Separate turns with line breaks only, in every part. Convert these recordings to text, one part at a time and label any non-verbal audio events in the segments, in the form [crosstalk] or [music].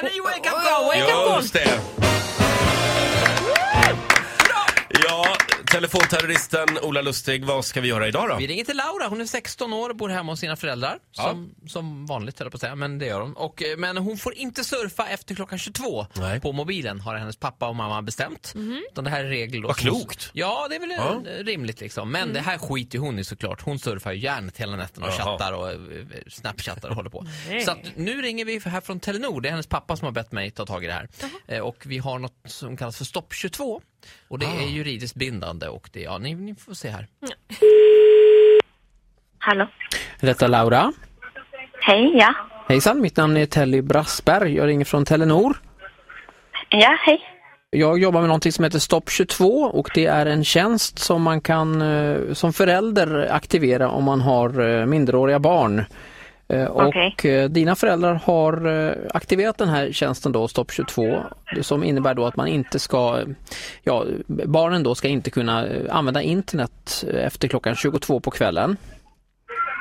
Any wake up call, wake up call!
Just det. Ja, telefonterroristen Ola Lustig, vad ska vi göra idag då?
Vi ringer till Laura, hon är 16 år och bor hemma hos sina föräldrar. Som, som vanligt höll jag på att säga, men det gör hon. Och, eh, men hon får inte surfa efter klockan 22
Nej.
på mobilen, har hennes pappa och mamma bestämt. Utan det här är regler.
Vad klokt.
Ja, det är väl eh, rimligt liksom. Men det här skiter ju hon i såklart. Hon surfar ju järnet hela nätterna och
Jaha.
chattar och eh, snapchattar och håller på.
Nej.
Så att nu ringer vi här från Telenor. Det är hennes pappa som har bett mig ta tag i det här. Eh, Och vi har något som kallas för Stopp 22. Och det
Ah.
är juridiskt bindande och det, ja ni, ni får se här.
Hallå.
Detta är Laura.
Hej, ja.
Hejsan, mitt namn är Telly Brassberg. Jag ringer från Telenor.
Ja, hej.
Jag jobbar med någonting som heter Stopp 22 och det är en tjänst som man kan eh, som förälder aktivera om man har eh, minderåriga barn. Eh, Och
Okej.
eh, dina föräldrar har eh, aktiverat den här tjänsten då, Stopp 22, som innebär då att man inte ska, eh, ja, barnen då ska inte kunna eh, använda internet eh, efter klockan 22 på kvällen.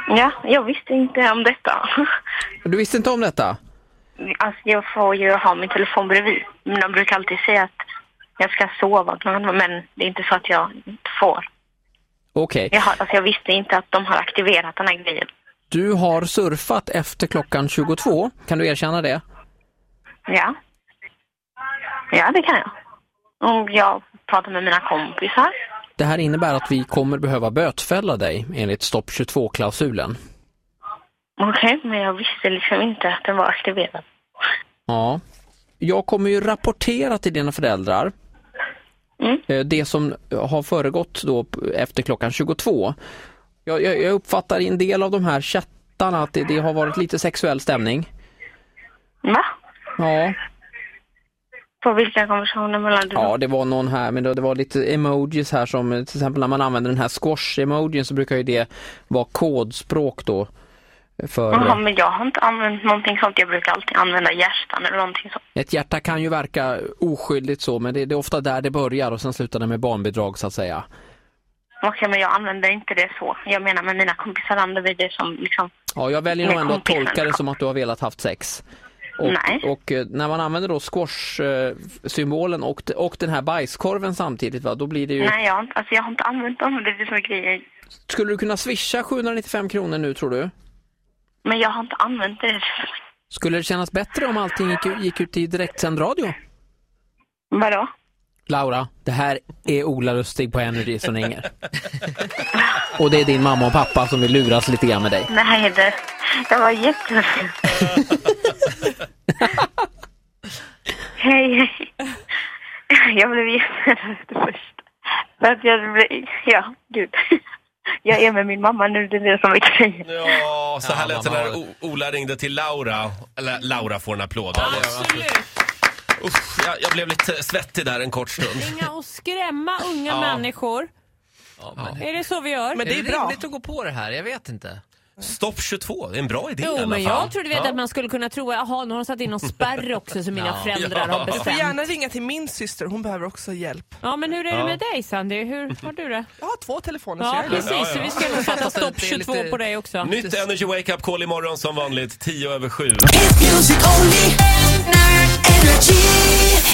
Ja, jag visste inte om detta. [laughs]
Du visste inte om detta?
Alltså, jag får ju ha min telefon bredvid. Men de brukar alltid säga att jag ska sova klockan, men det är inte så att jag inte får.
Okej.
Jag, har, alltså, jag visste inte att de har aktiverat den här grejen.
Du har surfat efter klockan 22. Kan du erkänna det?
Ja. Ja, det kan jag. Och jag pratar med mina kompisar.
Det här innebär att vi kommer behöva bötfälla dig enligt stopp 22-klausulen.
Okej, men jag visste liksom inte att den var aktiverad.
Ja. Jag kommer ju rapportera till dina föräldrar
Mm.
eh, det som har föregått då p- efter klockan 22. Jag, jag, jag uppfattar i en del av de här chattarna att det, det har varit lite sexuell stämning.
Va?
Ja,
På vilka konversationer mellan du?
Ja, det var någon här, men det det var lite emojis här som eh, till exempel när man använder den här squash-emojin så brukar ju det vara kodspråk då. För
Jaha,
eh,
men jag har inte använt någonting sånt. Jag brukar alltid använda hjärtan eller någonting sånt.
ett hjärta kan ju verka oskyldigt så, men det, det är ofta där det börjar och sen slutar det med barnbidrag så att säga.
Okej, men jag använder inte det så. Jag menar med mina kompisar använder vi det som liksom...
Ja, jag väljer nog
Med
ändå att
kompisarna.
tolka det som att du har velat haft sex. Och,
Nej.
och eh, när man använder då squash-symbolen och, de- och den här bajskorven samtidigt, va, då blir det ju...
Nej, jag, har inte- alltså, jag har inte använt dem. Det är det som är grejen.
Skulle du kunna swisha 795 kronor nu tror du?
Men jag har inte använt det.
Skulle det kännas bättre om allting gick, gick ut i direktsänd radio?
Vadå?
Laura, det här är Ola Lustig på Energy som ringer. Och det är din mamma och pappa som vill luras lite grann med dig.
Nej, det... Jag var jätteledsen. hej, hej. Jag blev jätteledsen först. För att jag blev... Ja, gud. Jag är med min mamma nu. Det är det som är grejen.
Ja, så här
Ja,
lät det
mamma
när
var-
O- Ola ringde till Laura. Eller Laura får en applåd.
Absolut.
Usch, jag, jag blev lite svettig där en kort stund.
Ringa och skrämma unga
Ja.
människor.
Ja, men,
Är det så vi gör?
Men det är,
bra.
rimligt att gå på det här, jag vet inte.
Stopp 22, det är en bra idé i
Jo,
alla
men
fall.
jag trodde vet att man skulle kunna tro att jaha, nu har de satt in någon spärr också som mina föräldrar har
Du får
bestämt.
gärna ringa till min syster, hon behöver också hjälp.
Ja, men hur är det med dig Sandy? Hur har du det?
Jag har två telefoner så
Ja,
jag är
precis.
lugn.
Så vi ska nog sätta
Fattar
stopp
inte, det är
22
lite-
på dig också.
Nytt Energy Wake Up Call imorgon som vanligt, 10 över 7.
Hit music only. Energy.